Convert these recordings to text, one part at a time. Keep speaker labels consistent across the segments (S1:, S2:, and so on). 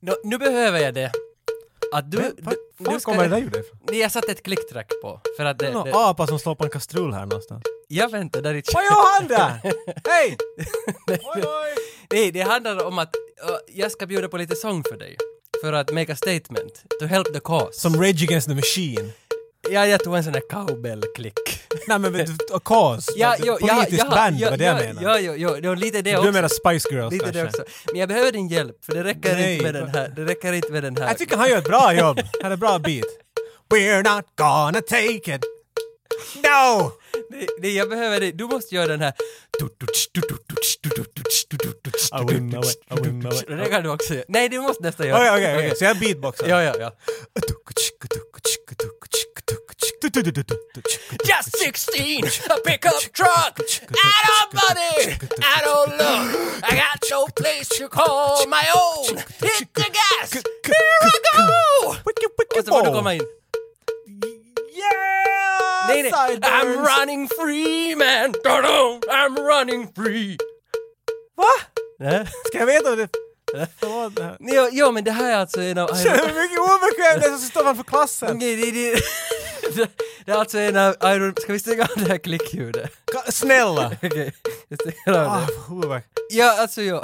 S1: Nå, nu behöver jag det. Att du...
S2: Vad
S1: du
S2: fan kommer det där ljudet ifrån?
S1: Nej, jag satte ett klicktrack på. För att
S2: Det
S1: det...
S2: är någon
S1: det
S2: apa som slår på en kastrull här någonstans.
S1: jag väntar där i
S2: Vad gör han där? Hej! Oj, oj!
S1: Nej, det handlar om att ö, jag ska bjuda på lite sång för dig. För att make a statement. To help the cause.
S2: Som Rage Against the Machine.
S1: Ja, jag tog en sån där cowbell-klick.
S2: Nej men vet du, a cause.
S1: Ja,
S2: Ett
S1: jo, ja,
S2: Politiskt
S1: ja,
S2: band,
S1: ja,
S2: vad det jag
S1: ja,
S2: menar.
S1: Ja, jo, jo, det var lite det
S2: du
S1: också.
S2: menar Spice Girls
S1: Lite det
S2: kanske?
S1: också. Men jag behöver din hjälp, för det räcker
S2: Nej. Alltså,
S1: inte med den här. Det räcker inte med den här.
S2: Jag tycker han gör ett bra jobb. Han är bra beat. We're not gonna take it. No!
S1: Nej, nej, jag behöver det. Du måste göra den här.
S2: I wouldn't know it, I wouldn't know it.
S1: Det kan du också göra. Nej, du måste nästan göra.
S2: Okej, okej, okej. Så jag beatboxar.
S1: Ja, ja, ja. Just 16, a pickup truck. I don't money, I don't love. I got no place to call my own. Hit the gas, here I go! Och så får
S2: Oh,
S1: du komma in.
S2: Yeah!
S1: Nej, nej. I'm
S2: Sideburns.
S1: running free man. Da-dum, I'm running free.
S2: Va?
S1: Nej.
S2: Ska jag veta vad det... Förlåt det här.
S1: Jo, jo, men det här är alltså en av...
S2: Känner mig mycket obekväm när jag står framför klassen.
S1: Nej, det, det, det, det är alltså en av Iron... Ska vi stänga av det här klickljudet?
S2: Ka- Snälla!
S1: Okej, jag stänger av
S2: Ah,
S1: det.
S2: vad obekvämt.
S1: Ja, alltså jo.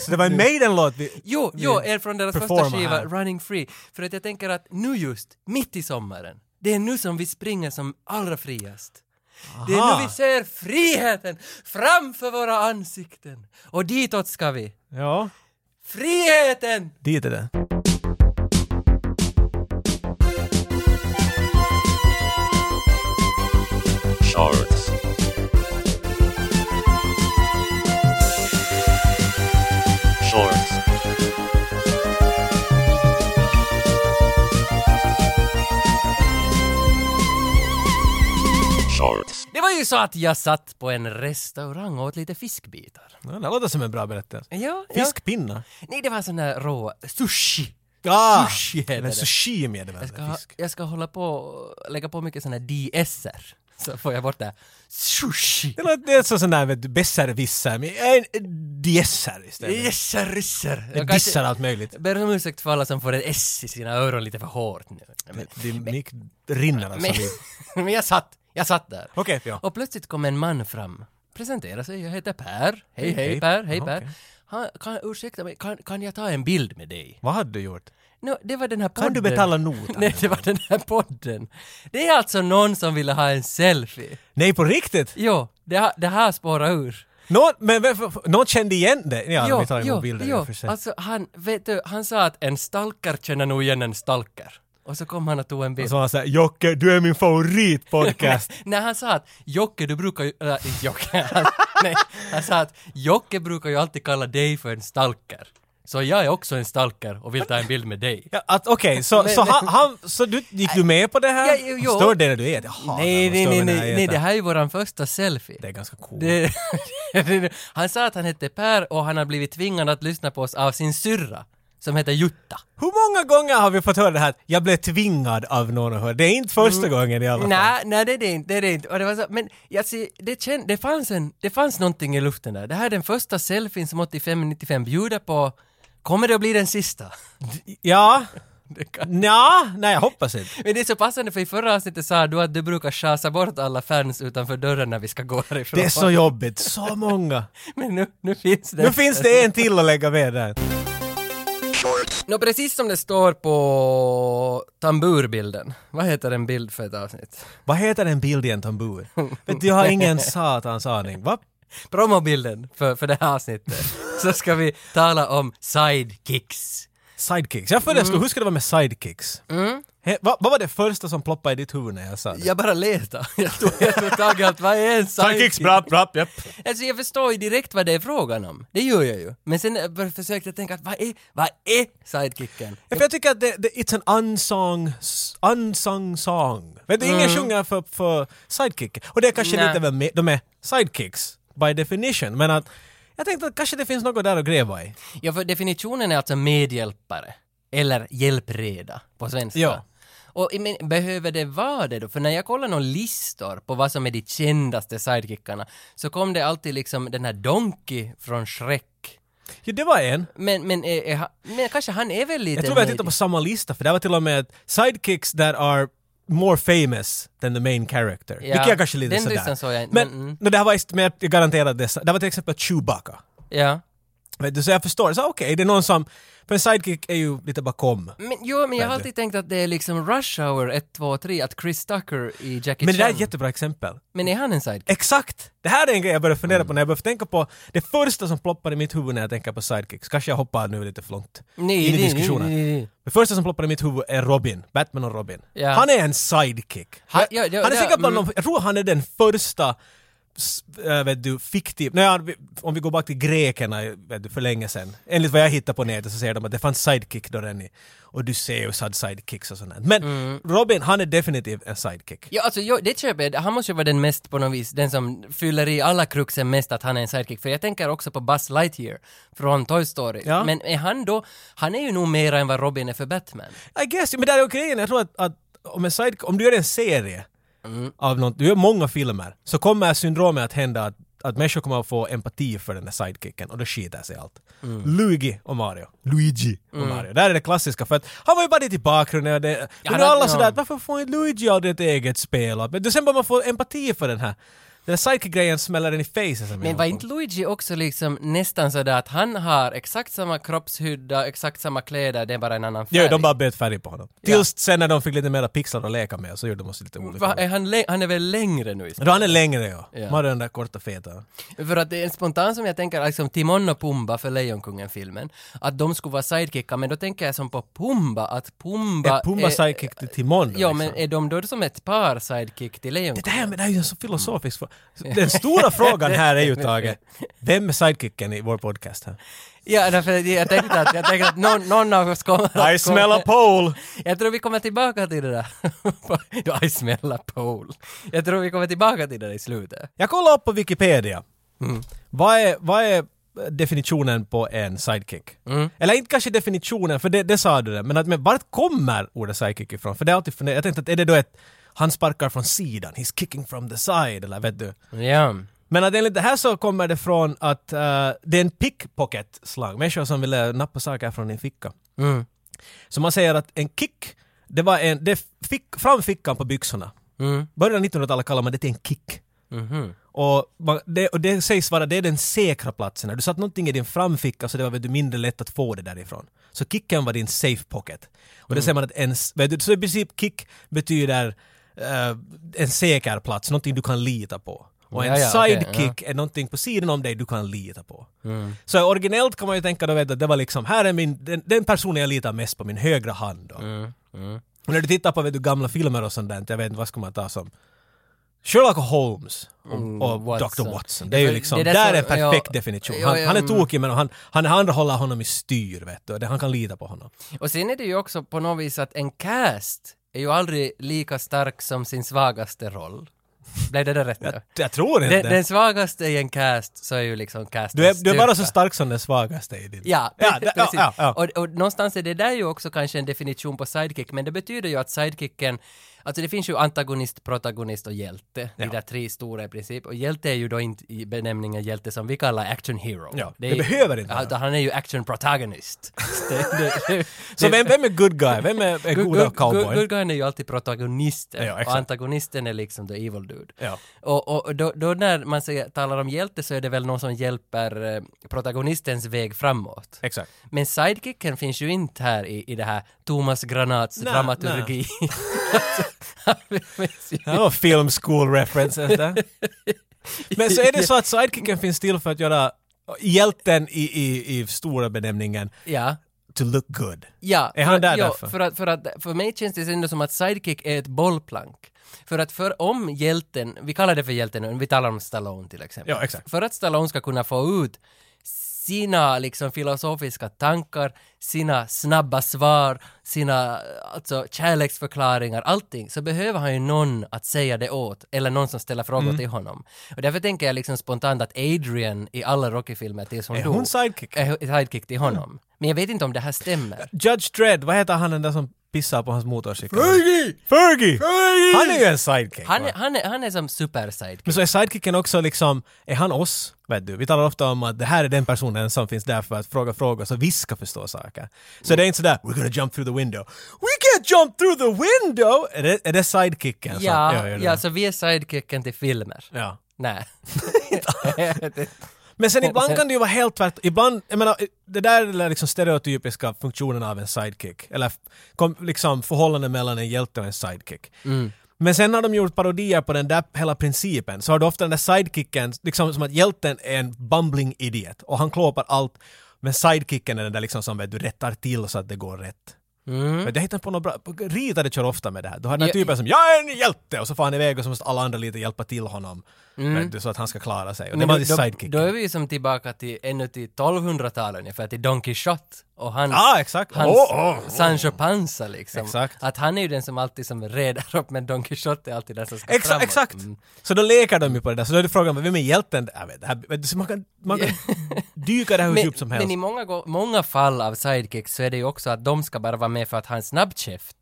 S2: Så det var en Maiden-låt vi...
S1: Jo, jo, är från deras första
S2: performa
S1: skiva
S2: här.
S1: Running Free. För att jag tänker att nu just, mitt i sommaren, det är nu som vi springer som allra friast. Det är
S2: Aha.
S1: nu vi ser friheten framför våra ansikten. Och ditåt ska vi.
S2: Ja.
S1: Friheten!
S2: Dit är det.
S3: Shorts. Shorts. Shorts.
S1: Det var ju så att jag satt på en restaurang och åt lite fiskbitar.
S2: Ja, det låter som en bra berättelse.
S1: Ja,
S2: Fiskpinnar.
S1: ja. Nej, det var sån där rå sushi.
S2: Ja!
S1: Sushi heter
S2: Eller
S1: det.
S2: sushimi är Ah. det
S1: Jag
S2: väl?
S1: ska,
S2: eller
S1: ha,
S2: Fisk.
S1: jag ska hålla på och lägga på mycket såna här DSer. Så får jag bort det här sushi.
S2: Det låter det är så sån där vet du, besserwisser, men en en diesser istället.
S1: Yeser, risser.
S2: Jag dissar allt möjligt.
S1: ber om ursäkt för alla som får ett S i sina öron lite för hårt nu. Men,
S2: Din mick rinner alltså.
S1: men, men jag satt, jag satt där.
S2: Okej, ja.
S1: Och plötsligt kom en man fram, presenterade sig, jag heter Per. Hej, hej,
S2: hej.
S1: Per, hej
S2: Jaha,
S1: Per.
S2: okej.
S1: Han, kan, ursäkta mig, kan, kan jag ta en bild med dig?
S2: Vad hade du gjort?
S1: Nå, det var den här podden.
S2: Kan du betala notan?
S1: Nej, det var den här podden. Det är alltså någon som ville ha en selfie.
S2: Nej, på riktigt?
S1: Jo, det, ha- det här spårar ur.
S2: Någon, men, varför- någon kände igen dig? Ja,
S1: jo,
S2: vi tar emot bilder i och för sig.
S1: alltså han, vet du, han sa att en stalker känner nog igen en stalker. Och så kom han och tog en bild.
S2: Och så var han såhär, Jocke, du är min favoritpodcast.
S1: När han sa att Jocke, du brukar ju... Äh, inte Jocke. Han, nej, han sa att Jocke brukar ju alltid kalla dig för en stalker. Så jag är också en stalker och vill ta en bild med dig.
S2: Ja, att, okej, så,
S1: Men-
S2: så,
S1: men-
S2: han, han, så du, gick du med på det här?
S1: Ja, jo, jo.
S2: Vad Står det när du äter? Jaha,
S1: nej,
S2: vad
S1: nej,
S2: står
S1: nej,
S2: det när
S1: nej,
S2: jag
S1: nej,
S2: äter?
S1: det här är ju våran första selfie.
S2: Det är ganska coolt.
S1: Det, han sa att han hette Per och han har blivit tvingad att lyssna på oss av sin syrra, som heter Jutta.
S2: Hur många gånger har vi fått höra det här att jag blev tvingad av någon att höra? Det är inte
S1: Mm.
S2: första gången i alla fall.
S1: Nej, nej det är det inte, det är det inte. Och det var så, men jag ser, det, känd, det, fanns en, det fanns någonting i luften där. Det här är den första selfien som 85-95 bjuder på. Kommer det att bli den sista?
S2: Ja.
S1: Det kan-
S2: Nja, nej jag hoppas inte.
S1: Men det är så passande för i förra avsnittet sa du att du brukar chasa bort alla fans utanför dörren när vi ska gå härifrån.
S2: Det är så jobbigt, så många.
S1: Men nu, nu finns det.
S2: Nu finns det en till att lägga med där.
S1: Nå, precis som det står på tamburbilden. Vad heter en bild för ett avsnitt?
S2: Vad heter en bild i en tambur? Vet du, jag har ingen satans aning. Va?
S1: Promobilden för, för det här avsnittet. Så ska vi tala om sidekicks.
S2: Sidekicks. Jag föreslår, hur ska det vara med sidekicks? He, va, vad var det första som ploppade i ditt huvud när jag sa det?
S1: Jag bara letar. Jag tog, jag tog tag i allt. Vad är en sidekick?
S2: brapp, japp.
S1: Alltså jag förstår ju direkt vad det är frågan om. Det gör jag ju. Men sen eh, bara försökte jag tänka, att vad är, vad är sidekicken?
S2: Ja, för jag tycker att det, det, it's an unsung, unsung song. Vet du, ingen sjunger för, för sidekick. Och det är kanske
S1: Nej.
S2: lite väl med, de är sidekicks by definition. Men att jag tänkte att kanske det finns något där att gräva i.
S1: Ja, för definitionen är alltså medhjälpare. Eller hjälpreda på svenska.
S2: Ja.
S1: Och eh, men, behöver det vara det då? För när jag kollar några listor på vad som är de kändaste sidekickarna så kom det alltid liksom den här Donkey från Shrek.
S2: Ja, det var en.
S1: Men, men, är, är, han- men kanske han är väl lite
S2: Jag tror vi har
S1: nöjd.
S2: tittat på samma lista, för det var till och med sidekicks that are more famous than the main character.
S1: Ja,
S2: Vilket jag kanske lite
S1: den
S2: sådär.
S1: listan såg jag inte,
S2: Men,
S1: men, mm.
S2: men det här var just med, jag garanterar det, det var till exempel Chewbacca.
S1: Ja.
S2: Vet du, så jag förstår, så okej, det är någon som, för en sidekick är ju lite bakom.
S1: Men, jo, men jag har
S2: Verkligen.
S1: alltid tänkt att det är liksom Rush Hour 1, 2, 3, att Chris Tucker i Jackie
S2: Men det där är
S1: Chan.
S2: ett jättebra exempel.
S1: Men är han en sidekick?
S2: Exakt! Det här är en grej jag började fundera på
S1: Mm.
S2: när jag började tänka på det första som ploppar i mitt huvud när jag tänker på sidekicks. Kanske jag hoppar nu lite för långt
S1: Nej,
S2: in i
S1: nej,
S2: diskussionen.
S1: nej, nej, nej.
S2: Det första som ploppar i mitt huvud är Robin, Batman och Robin.
S1: Ja.
S2: Han är en sidekick.
S1: Han- ja, ja,
S2: han är
S1: ja,
S2: säkert bland
S1: mm.
S2: de, jag tror han är den första s- äh, vet du, fiktiv, nej, vi- om vi går bak till grekerna vet du, för länge sedan. Enligt vad jag hittar på nätet så säger de att det fanns sidekick då redan i Odysseus hade sidekicks och sånt där. Men
S1: Mm.
S2: Robin, han är definitivt en sidekick.
S1: Ja, alltså jag, det köper jag. Han måste ju vara den mest på något vis, den som fyller i alla kruxen mest att han är en sidekick. För jag tänker också på Buzz Lightyear från Toy Story.
S2: Ja.
S1: Men är han då, han är ju nog mera än vad Robin är för Batman.
S2: I guess, men där är ju grejen, jag tror att, att om, en side, om du gör en serie
S1: Mm.
S2: av något, du gör många filmer, så kommer syndromet att hända att, att människor kommer att få empati för den där sidekicken och då skiter sig allt.
S1: Mm.
S2: Luigi och Mario. Luigi och Mario. Där är det klassiska för att han var ju bara lite i bakgrunden och det, men
S1: han
S2: nu är
S1: hade-
S2: alla sådär
S1: Mm. ja.
S2: att varför får inte Luigi aldrig ett eget spel? Och- Men då sen börjar man få empati för den här. Den där sidekick-grejen smäller den i facet. som
S1: Men
S2: jag
S1: var
S2: håller på
S1: inte Luigi också liksom nästan sådär att han har exakt samma kroppshydda, exakt samma kläder, det är bara en annan färg?
S2: Ja, de bara bytte färg på honom. Tills sen när de fick lite mera pixlar att leka med så gjorde de oss lite olika.
S1: Va, är han, lä- han är väl längre nu istället?
S2: Då han är längre ja.
S1: Ja.
S2: Mario är den där korta feta.
S1: För att det är en spontan som jag tänker, liksom Timon och Pumba för Lejonkungen-filmen, att de skulle vara sidekickar, men då tänker jag som på Pumba, att Pumba...
S2: Är Pumba
S1: är-
S2: sidekick till Timon då,
S1: eh, Ja,
S2: liksom?
S1: men är de då som ett par sidekick till
S2: Det
S1: Lejonkungen?
S2: här men det här är ju en så filosofisk fråga. Den stora frågan här är ju Tage, vem är sidekicken i vår podcast här?
S1: Ja, därför att jag tänkte att, jag tänkte att någon, någon av oss kommer att-
S2: I smell a pole!
S1: Jag tror vi kommer tillbaka till det där. Då I smell a pole. Jag tror vi kommer tillbaka till det där i slutet.
S2: Jag kollar upp på Wikipedia.
S1: Mm.
S2: Vad, är, vad är definitionen på en sidekick?
S1: Mm.
S2: Eller inte kanske definitionen, för det, det sa du det, men, att, men vart kommer ordet sidekick ifrån? För det är alltid funderat, jag tänkte att är det då ett han sparkar från sidan, he's kicking from the side, eller vet du?
S1: Ja.
S2: Men att enligt det här så kommer det från att eh, det är en pickpocket-slang, människor som ville nappa saker från din ficka.
S1: Mm.
S2: Så man säger att en kick, det var en, det fick fram fickan på byxorna.
S1: Mm.
S2: Början av 1900-talet kallade man det till en kick.
S1: Mhm.
S2: Och, man, det, och det sägs vara det är den säkra platsen. När du satt någonting i din framficka så det var vet du, mindre lätt att få det därifrån. Så kicken var din safe pocket. Och
S1: Mm.
S2: det säger man att en, s- vet du, så i princip kick betyder eh, en säker plats, någonting du kan lita på. Och en
S1: Ja, ja, okej,
S2: sidekick
S1: ja. Mm.
S2: är någonting på sidan om dig du kan lita på. Så originellt kan man ju tänka då vet, du, att det var liksom, här är min, den, den personen jag litar mest på, min högra hand
S1: Mm.
S2: då. Och när du tittar på vet du, gamla filmer och sånt där, jag vet inte vad ska man ta som Sherlock Holmes och, och
S1: Mm, Watson.
S2: Dr. Watson. Det är ju liksom,
S1: Det
S2: det
S1: där
S2: där,
S1: som-
S2: är en perfekt
S1: ja,
S2: definition.
S1: ja,
S2: Han,
S1: ja,
S2: han är
S1: mm.
S2: tokig men han, han, han håller honom i styr vet du, och det- han kan lita på honom.
S1: Och sen är det ju också på något vis att en cast är ju aldrig lika stark som sin svagaste roll. Blev det där rätt? nu?
S2: Jag tror inte.
S1: Den, den svagaste i en cast så är ju liksom cast
S2: du, är, du är bara så stark som den svagaste i din...
S1: Ja,
S2: ja,
S1: precis.
S2: det- ja, ja, ja.
S1: Och, och någonstans är det där ju också kanske en definition på sidekick, men det betyder ju att sidekicken, alltså det finns ju antagonist, protagonist och hjälte, de där tre stora i princip, och hjälte är ju då inte i benämningen hjälte som vi kallar action hero.
S2: Ja,
S1: är
S2: det
S1: ju-
S2: behöver inte
S1: Ja, han är ju action protagonist. det, det, det,
S2: Så vem, vem är good guy? Vem är, är goda cowboy?
S1: Good guyen är ju alltid protagonisten
S2: Ja,
S1: och
S2: exakt.
S1: antagonisten är liksom the evil dude.
S2: Ja.
S1: Och, och, och då, då när man säger, talar om hjälte så är det väl någon som hjälper eh, protagonistens väg framåt.
S2: Exakt.
S1: Men sidekicken finns ju inte här i, i det här Thomas Granats
S2: Nej,
S1: dramaturgi. Alltså, han finns ju-
S2: Ja, film school references där. Men så är det så att sidekicken finns till för att göra hjälten i, i, i stora benämningen
S1: ja.
S2: to look good.
S1: Ja,
S2: Är han där
S1: ja,
S2: därför?
S1: För, att, för, att, för mig känns det ändå som att sidekick är ett bollplank. För att för om hjälten, vi kallar det för hjälten nu, vi talar om Stallone till exempel.
S2: Ja, exakt.
S1: För att Stallone ska kunna få ut sina liksom filosofiska tankar, sina snabba svar, sina alltså, kärleksförklaringar, allting, så behöver han ju någon att säga det åt, eller någon som ställer frågor
S2: Mm.
S1: till honom. Och därför tänker jag liksom spontant att Adrian i alla Rocky-filmer tills hon
S2: Är
S1: dog,
S2: hon sidekick?
S1: är sidekick till honom. Men jag vet inte om det här stämmer.
S2: Judge Dredd, vad heter han den där som pissar på hans motorcykel? Fergie! Fergie! Han är ju en sidekick.
S1: Han,
S2: va?
S1: är- han, är- han är som super-sidekick.
S2: Men så är sidekicken också liksom, är han oss? Vet du, vi talar ofta om att det här är den personen som finns där för att fråga frågor så vi ska förstå saker. Så det är inte sådär “We're gonna jump through the window”. “We can't jump through the window!” Är det, är det sidekicken som
S1: Ja,
S2: gör det?
S1: ja, så vi är sidekicken till filmer.
S2: ja.
S1: Nej.
S2: Men sen ibland kan det ju vara helt tvärt, ibland, jag menar, det där är den liksom stereotypiska funktionen av en sidekick. Eller f- kom, liksom förhållandet mellan en hjälte och en sidekick.
S1: Mm.
S2: Men sen har de gjort parodier på den där hela principen. Så har du ofta den där sidekicken, liksom som att hjälten är en bumbling idiot och han klåpar allt. Men sidekicken är den där liksom som vet, du rättar till så att det går rätt. Mm. Jag hittar på något bra, ritade kör ofta med det här. Du har den här
S1: Ja.
S2: typen som “Jag är en hjälte!” och så får han iväg och så måste alla andra lite hjälpa till honom. Vet du, så att han ska klara sig. Och det
S1: Mm. Men
S2: var
S1: då-
S2: alltid
S1: då-
S2: sidekicken.
S1: Då är vi ju som tillbaka till ännu till 1200-talet ungefär, till Don Quixote och hans,
S2: Ja, exakt.
S1: hans
S2: Åh, åh, åh.
S1: Sancho Panza liksom.
S2: Exakt.
S1: Att han är ju den som alltid som redar upp, men Don Quixote är alltid den som ska
S2: Exa,
S1: framåt.
S2: exakt!
S1: Mm.
S2: Så då leker de ju på det där, så då är det frågan vem är hjälten? Jag vet, det här, vet du, så man kan, man kan dyka det här hur
S1: Men,
S2: djupt som helst.
S1: men i många, gå- många fall av sidekicks så är det ju också att de ska bara vara med för att ha en snabbkäft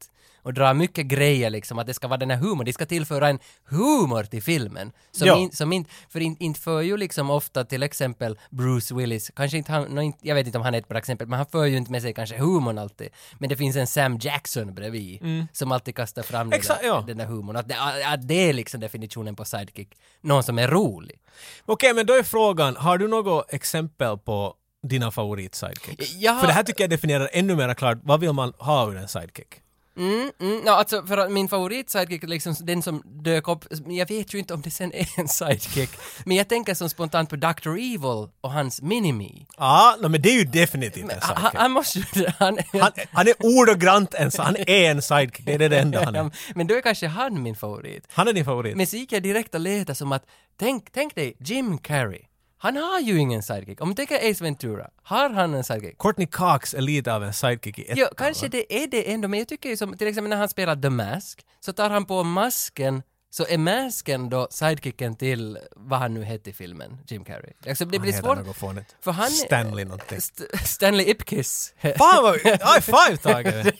S1: och dra mycket grejer liksom, att det ska vara den här humorn, de ska tillföra en humor till filmen. Som
S2: Ja.
S1: in, som in, för in- inte för ju liksom ofta till exempel Bruce Willis, kanske inte han, nå, inte- jag vet inte om han är ett bra exempel, men han för ju inte med sig kanske humorn alltid. Men det finns en Sam Jackson bredvid som alltid kastar fram den,
S2: Mm. Exakt,
S1: där,
S2: ja.
S1: den där humorn. Att det, att det är liksom definitionen på sidekick, någon som är rolig.
S2: Okej, men då är frågan, har du något exempel på dina favorit-sidekicks?
S1: Jag har-
S2: För det här tycker jag definierar ännu mer klart, vad vill man ha ur en sidekick?
S1: Mm, mm, no, alltså för att min favorit sidekick, liksom den som dök upp, jag vet ju inte om det sen är en sidekick, men jag tänker som spontant på Dr. Evil och hans Minimi.
S2: Ja, no, men det är ju definitivt en
S1: Han,
S2: sidekick.
S1: han måste ju... Han,
S2: Han, han är ordagrant en han är en sidekick, det är det enda han är.
S1: men då är kanske han min favorit.
S2: Han är din favorit.
S1: Men så gick jag direkt och letade som att, tänk, tänk dig Jim Carrey. Han har ju ingen sidekick. Om du tänker Ace Ventura, har han en sidekick?
S2: Courtney Cox är lite av en sidekick i ett
S1: Ja, kanske det är det ändå, men jag tycker ju som till exempel när han spelar The Mask, så tar han på masken, så är masken då sidekicken till vad han nu hette i filmen, Jim Carrey. Alltså det blir
S2: heter
S1: svårt.
S2: något fånigt.
S1: För han är-
S2: Stanley någonting.
S1: St- Stanley Ipkiss.
S2: Fan vad... High five Tage!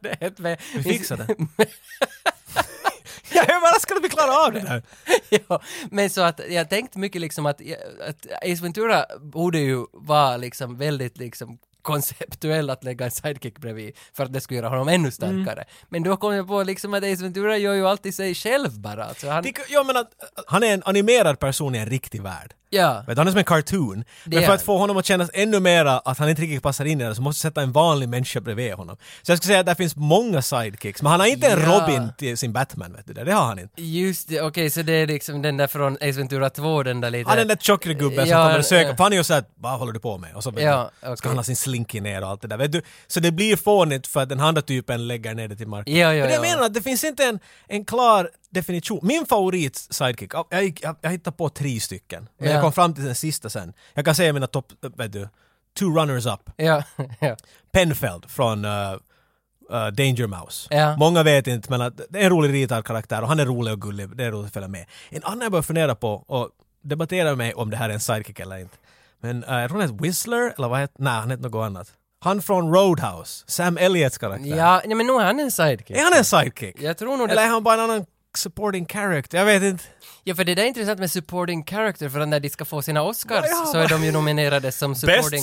S1: det hette med,
S2: Vi fixade det. Jag är överraskad att vi klarar av det där.
S1: ja, men så att jag tänkte mycket liksom att, att Ace Ventura borde ju vara liksom väldigt liksom konceptuell att lägga en sidekick bredvid för att det skulle göra honom ännu starkare.
S2: Mm.
S1: Men då kom jag på liksom att Ace Ventura gör ju alltid sig själv bara. Alltså han,
S2: Det- Jag menar, han är en animerad person i en riktig värld.
S1: ja.
S2: Vet, du, han är som en cartoon. Men
S1: är
S2: för att
S1: han.
S2: få honom att kännas ännu mera att han inte riktigt passar in i det så måste jag sätta en vanlig människa bredvid honom. Så jag skulle säga att det finns många sidekicks, men han har inte en
S1: Ja.
S2: Robin till sin Batman, vet du det? Det har han inte.
S1: Just det, okej så det är liksom den där från Ace Ventura 2, den där lite...
S2: Han är den där tjockare gubben som
S1: Ja,
S2: kommer och söker
S1: ja.
S2: på han är ju såhär vad håller du på med? Och så vet
S1: Ja,
S2: du, ska
S1: okej.
S2: han ha sin slinky ner och allt det där. Vet du? Så det blir fånigt för att den andra typen lägger ner det till marken.
S1: Ja, ja,
S2: Men jag
S1: ja.
S2: menar att det finns inte en, en klar definition. Min favorit sidekick, jag, jag, jag, jag hittade på tre stycken. Men
S1: Ja.
S2: jag kom fram till den sista sen. Jag kan säga mina topp, äh, vet du, two runners up.
S1: Ja, ja.
S2: Penfeld från äh, äh, Danger Mouse.
S1: Ja.
S2: Många vet inte men att det är en rolig ritad karaktär och han är rolig och gullig, det är roligt att följa med. En annan jag började fundera på och debattera med om det här är en sidekick eller inte. Men äh, jag tror han heter Whistler eller vad heter, nej han heter något annat. Han från Roadhouse, Sam Elliots karaktär.
S1: ja nej, men nog är han en sidekick.
S2: Är han en sidekick?
S1: Jag tror nog
S2: Eller
S1: det.
S2: är han bara en annan supporting character? Jag vet inte.
S1: Ja, för det där är intressant med supporting character, för när de ska få sina Oscars
S2: Ja,
S1: så är de ju nominerade som supporting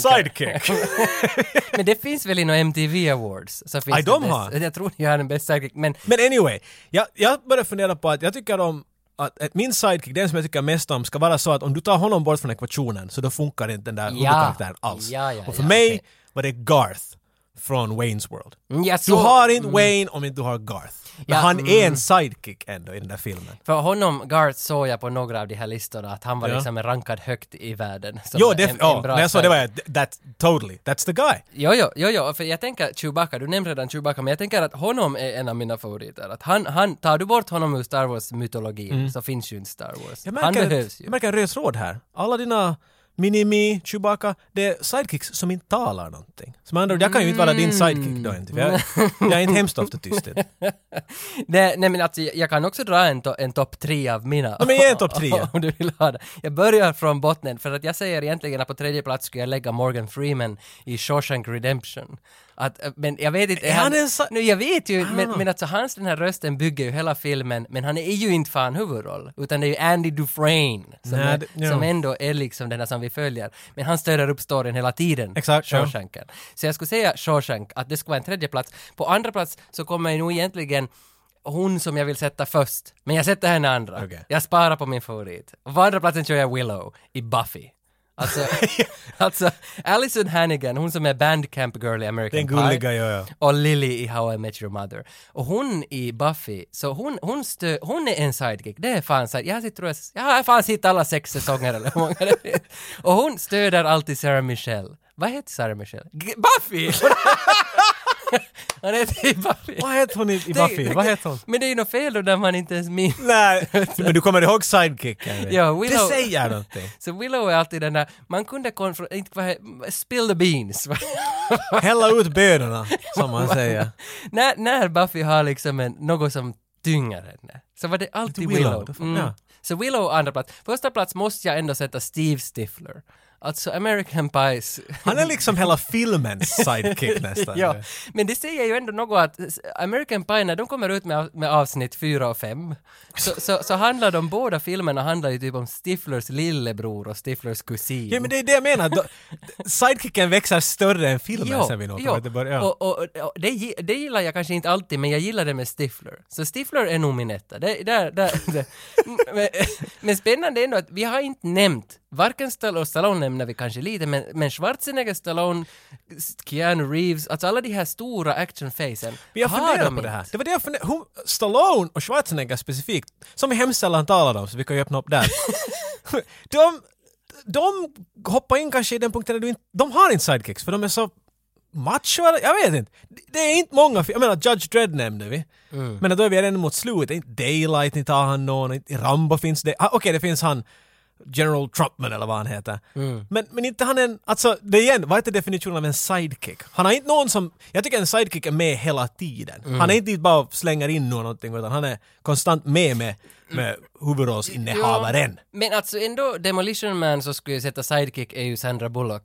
S1: Men det finns väl inom MTV Awards? Så finns
S2: Aj,
S1: det
S2: de
S1: bäst-
S2: har.
S1: Jag tror jag är den bästa sidekick, men
S2: Men anyway, jag, jag började fundera på att jag tycker om att, att min sidekick, den som jag tycker mest om, ska vara så att om du tar honom bort från ekvationen så då funkar inte den där huvudkaraktären alls.
S1: Ja, ja,
S2: och för
S1: ja,
S2: mig
S1: okej.
S2: var det Garth från Wayne's World.
S1: Mm, jag
S2: Du
S1: såg...
S2: har inte Wayne om inte du har Garth. Men
S1: Ja, mm.
S2: han är en sidekick ändå i den där filmen.
S1: För honom, Garth, såg jag på några av de här listorna att han var
S2: Ja.
S1: liksom rankad högt i världen. som
S2: Jo,
S1: en-
S2: def-
S1: en
S2: ja,
S1: bra
S2: när jag såg det var
S1: sidekick.
S2: jag, that, totally, that's the guy.
S1: Jo, jo, jo, jo, för jag tänker Chewbacca, du nämnde redan Chewbacca, men jag tänker att honom är en av mina favoriter. Att han, han, tar du bort honom ur Star Wars-mytologin så finns ju inte Star Wars.
S2: Mm. Jag
S1: Han
S2: märker,
S1: behövs ju.
S2: jag märker en röd tråd här. Alla dina Minimi, Chewbacca, det är sidekicks som inte talar någonting. Så med andra ord, jag kan ju inte vara din sidekick då inte, för jag,
S1: Mm.
S2: jag är inte hemskt ofta tyst.
S1: Nej, nej men alltså, jag jag kan också dra en, to- en topp tre av mina.
S2: Ja, men ge en topp tre.
S1: Om du vill ha det. Jag börjar från botten, för att jag säger egentligen att på tredje plats skulle jag lägga Morgan Freeman i Shawshank Redemption. Att, eh, men jag vet inte...
S2: Är han en sa-
S1: nu, jag vet ju, men,
S2: Ah.
S1: men alltså hans den här rösten bygger ju hela filmen, men han är ju inte fan huvudroll, utan det är ju Andy Dufresne som,
S2: Nej,
S1: är,
S2: det- ja.
S1: som ändå är liksom den här som vi följer. Men han stöder upp storyn hela tiden,
S2: Exakt, ja.
S1: Shawshanken. Så jag skulle säga Shawshank, att det skulle vara en tredje plats. På andra plats så kommer jag nog egentligen hon som jag vill sätta först, men jag sätter henne andra.
S2: Okej.
S1: Jag sparar på min favorit. Och på andra platsen kör jag Willow i Buffy. Alltså, alltså Allison Hannigan, hon som är bandcamp girl i American
S2: Den
S1: Pie.
S2: gulliga, ja, ja.
S1: Och Lily i How I Met Your Mother. Och hon i Buffy, så hon, hon, stö, hon är en sidekick. Det är fan sidekick. Jag har sett, tror jag, jag har fan sett alla sex säsonger eller hur många det är. Och hon stöder alltid Sarah Michelle. Vad heter Sarah Michelle? G- Buffy! Hon heter ju Buffy.
S2: Vad heter hon i, i Buffy? Vad heter hon?
S1: Men det är ju något fel då när man inte ens minns.
S2: Nej, men du kommer ihåg sidekicken?
S1: Ja,
S2: det
S1: Willow-
S2: säger någonting.
S1: Så Willow är alltid den där, man kunde konfrontera, inte vad he- spill the beans.
S2: Hälla ut bönorna, som man säger.
S1: när, när Buffy har liksom en, något som tynger henne, så var det alltid
S2: Willow,
S1: Willow. Mm.
S2: då får- ja.
S1: Så Willow andra plats. Första plats måste jag ändå sätta Steve Stifler. Alltså American Pies.
S2: Han är liksom hela filmens sidekick nästan.
S1: ja, men det säger ju ändå något att s- American Pie, när de kommer ut med, med avsnitt 4 och 5, så, så, så handlar de båda filmerna handlar ju typ om Stiflers lillebror och Stiflers kusin.
S2: Ja men det är det jag menar. Då- Sidekicken växer större än filmen
S1: Jo,
S2: sen vi något.
S1: jo.
S2: Ja. Det börjar, ja.
S1: Och, och, och det, gi- det gillar jag kanske inte alltid, men jag gillar det med Stifler. Så Stifler är nog min etta. Det, där, där, det. Men, men spännande är ändå att vi har inte nämnt, varken Stallone, och Stallone nämner vi kanske lite, men, men Schwarzenegger, Stallone, Keanu Reeves, alltså alla de här stora actionfacen.
S2: Men jag funderar på det här. Det var det jag funderade hur- Stallone och Schwarzenegger specifikt, som vi hemskt sällan talade om så vi kan ju öppna upp där. de, de hoppar in kanske i den punkten där du inte, de har inte sidekicks för de är så macho eller, jag vet inte. Det är inte många, fi- jag menar Judge Dredd nämnde vi. Men då är vi redan mot slutet, inte Daylight, inte har han någon, inte i Rambo finns det, ah, okej det finns han General Trumpman eller vad han heter. Men, men inte han en, alltså det igen, vad heter definitionen av en sidekick? Han har inte någon som, jag tycker en sidekick är med hela tiden. Han är inte bara slänger in någonting utan han är konstant med med, med huvudrollsinnehavaren.
S1: Men alltså ändå, Demolition Man så skulle jag sätta sidekick är ju Sandra Bullock,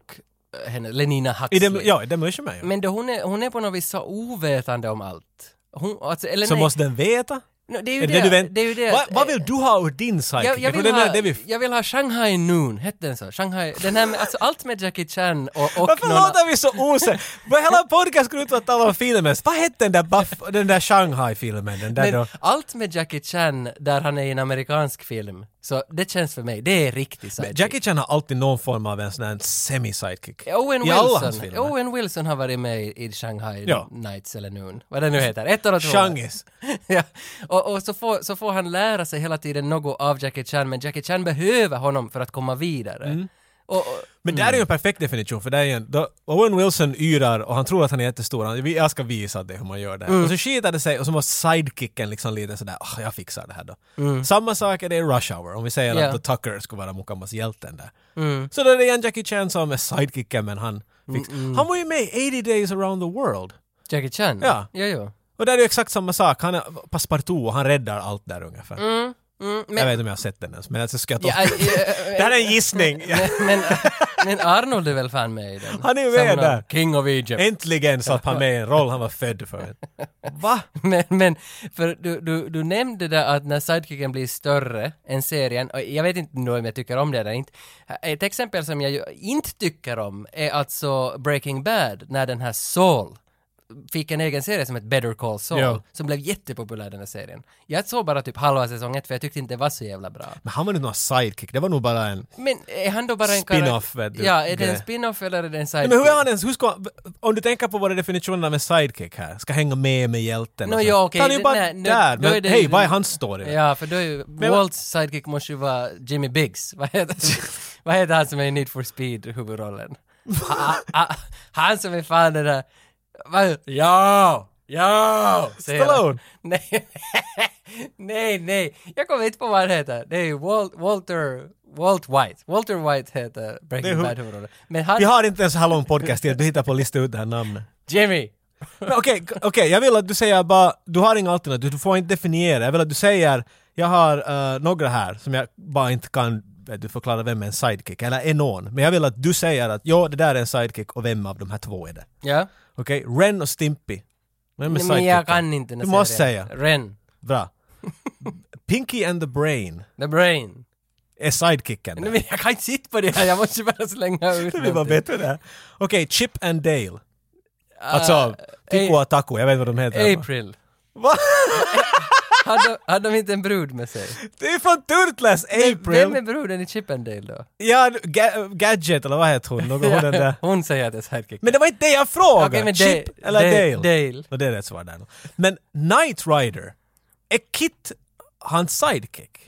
S1: eh, henne, Lenina
S2: I
S1: Huxley.
S2: dem, ja, i Demolition Man. ja.
S1: Men då hon, är, hon är på något vis så ovetande om allt. Hon, alltså, eller
S2: Så
S1: nej.
S2: måste den veta?
S1: No, det är ju
S2: Är
S1: det,
S2: det,
S1: det,
S2: du vänt-
S1: är ju det.
S2: Vad, vad vill du ha ur din sidekick?
S1: jag, jag,
S2: tror
S1: vill
S2: det är
S1: ha,
S2: det vi-
S1: jag vill ha Shanghai Noon, hette den så? Shanghai, den här med, alltså allt med Jackie Chan och, och
S2: Varför
S1: någon-
S2: låter vi så osäkra? Vår hela podcast går ut på att tala om filmen. Vad hette den där, Buff- den där Shanghai-filmen? Den där
S1: men
S2: då?
S1: allt med Jackie Chan där han är i en amerikansk film, så det känns för mig, det är riktigt
S2: Men
S1: sidekick.
S2: Jackie Chan har alltid någon form av en sån här semi-sidekick.
S1: Owen
S2: I alla hans
S1: Wilson,
S2: filmer.
S1: Owen Wilson har varit med i- i Shanghai
S2: Ja.
S1: Nights eller Noon, vad det nu heter, ett eller två.
S2: Shangis.
S1: ja. Och, och så, får, så får han lära sig hela tiden något av Jackie Chan, men Jackie Chan behöver honom för att komma vidare.
S2: Mm.
S1: Och, och,
S2: Men där är
S1: Mm.
S2: ju en perfekt definition för där är ju en, då Owen Wilson yrar och han tror att han är jättestor. Han, "Vi- jag ska visa dig hur man gör det.
S1: Mm.
S2: här." Och så skiter det sig och så måste sidekicken liksom lite sådär, "Ah, jag fixar det här då. Samma sak är det i Rush Hour, om vi säger
S1: Mm. Ja. Mm.
S2: att The Tucker skulle vara Mukamas hjälten där. Så då är det igen Jackie Chan som är sidekicken men han fixar.
S1: mm.
S2: Han var ju med i 80 Days Around the World.
S1: Jackie Chan?
S2: Ja.
S1: Jo, jo.
S2: Och där är ju exakt samma sak, han är passepartout och han räddar allt där ungefär.
S1: Mm,
S2: Jag
S1: men,
S2: vet inte om jag har sett den ens, men alltså ska jag ta...
S1: ja, äh,
S2: Det
S1: äh,
S2: här är en gissning!
S1: men, men Arnold är väl fan med i den?
S2: Han är ju med
S1: Som någon
S2: där.
S1: King of Egypt.
S2: Äntligen satt han med i en roll han var född för. Va?
S1: Men, men för du, du, du nämnde där att när sidekicken blir större än serien, och jag vet inte nu om jag tycker om det eller inte. Ett exempel som jag ju inte tycker om är alltså Breaking Bad, när den här Saul fick en egen serie som hette Better Call Saul,
S2: Ja.
S1: som blev jättepopulär den här serien. Jag såg bara typ halva säsong ett för jag tyckte inte det var så jävla bra.
S2: Men han var nog någon sidekick, det var nog bara en...
S1: Men är han då bara en
S2: Spin-off,
S1: karak-
S2: vet du.
S1: Ja, är det en
S2: Grej.
S1: spin-off eller är det en
S2: Nej,
S1: sidekick?
S2: men hur är han ens, hur ska, om du tänker på vad det är definitionen av en sidekick här, ska hänga med med hjälten och
S1: Nå,
S2: så.
S1: ja, okej,
S2: Han är ju
S1: det-
S2: bara
S1: nej, nu-
S2: där,
S1: då är
S2: men
S1: det
S2: hej,
S1: ju-
S2: vad är hans story?
S1: Ja, för då är ju
S2: Men-
S1: Walts sidekick måste ju vara Jimmy Biggs. Vad heter, vad heter han som är i Need for Speed huvudrollen? ha, ha, han som är fan den där... Vad, ja! Ja! säger han.
S2: Stallone?
S1: Nej, nej, nej. Jag kommer inte på vad han heter. Det är Walt, Walter... Walt White. Walter White heter
S2: Det är
S1: Breaking
S2: hu-
S1: Bad huvudrollen. Men han...
S2: Vi har inte en så här lång podcast till att du hittar på att lista ut det här namnet.
S1: Jimmy!
S2: Men Okej, okej, jag vill att du säger bara, du har inga alternativ, du får inte definiera, jag vill att du säger, jag har eh, några här som jag bara inte kan vet du förklara vem är en sidekick, eller är någon. Men jag vill att du säger att ja, det där är en sidekick och vem av de här två är det?
S1: Ja.
S2: Okej? Ren och Stimpy. Vem är
S1: Nej, men jag
S2: sidekicken?
S1: kan inte
S2: Du måste säga.
S1: Ren.
S2: Bra. Pinky and the Brain
S1: The brain.
S2: är sidekicken.
S1: Nej, men jag kan inte sitta på det här, jag måste bara slänga ut
S2: Det blir bara
S1: någonting.
S2: bättre där. Okej, Chip and Dale.
S1: Ah,
S2: Alltså, Tico
S1: A-
S2: och Taco, jag vet vad de heter.
S1: April.
S2: Va?
S1: Hade, hade de inte en brud med sig?
S2: Det är från Turtles,
S1: Vem är
S2: April!
S1: bruden i Chippendale då?
S2: Ja, Ga- Gadget eller vad heter hon? Någon hon den där.
S1: Hon säger att det är sidekick.
S2: Men det var inte det jag frågade!
S1: Okej, men
S2: Chip
S1: Dale-
S2: eller
S1: Dale-
S2: Dale?
S1: Dale.
S2: Och det är rätt svar där. då. Men Knight Rider, är Kit hans sidekick?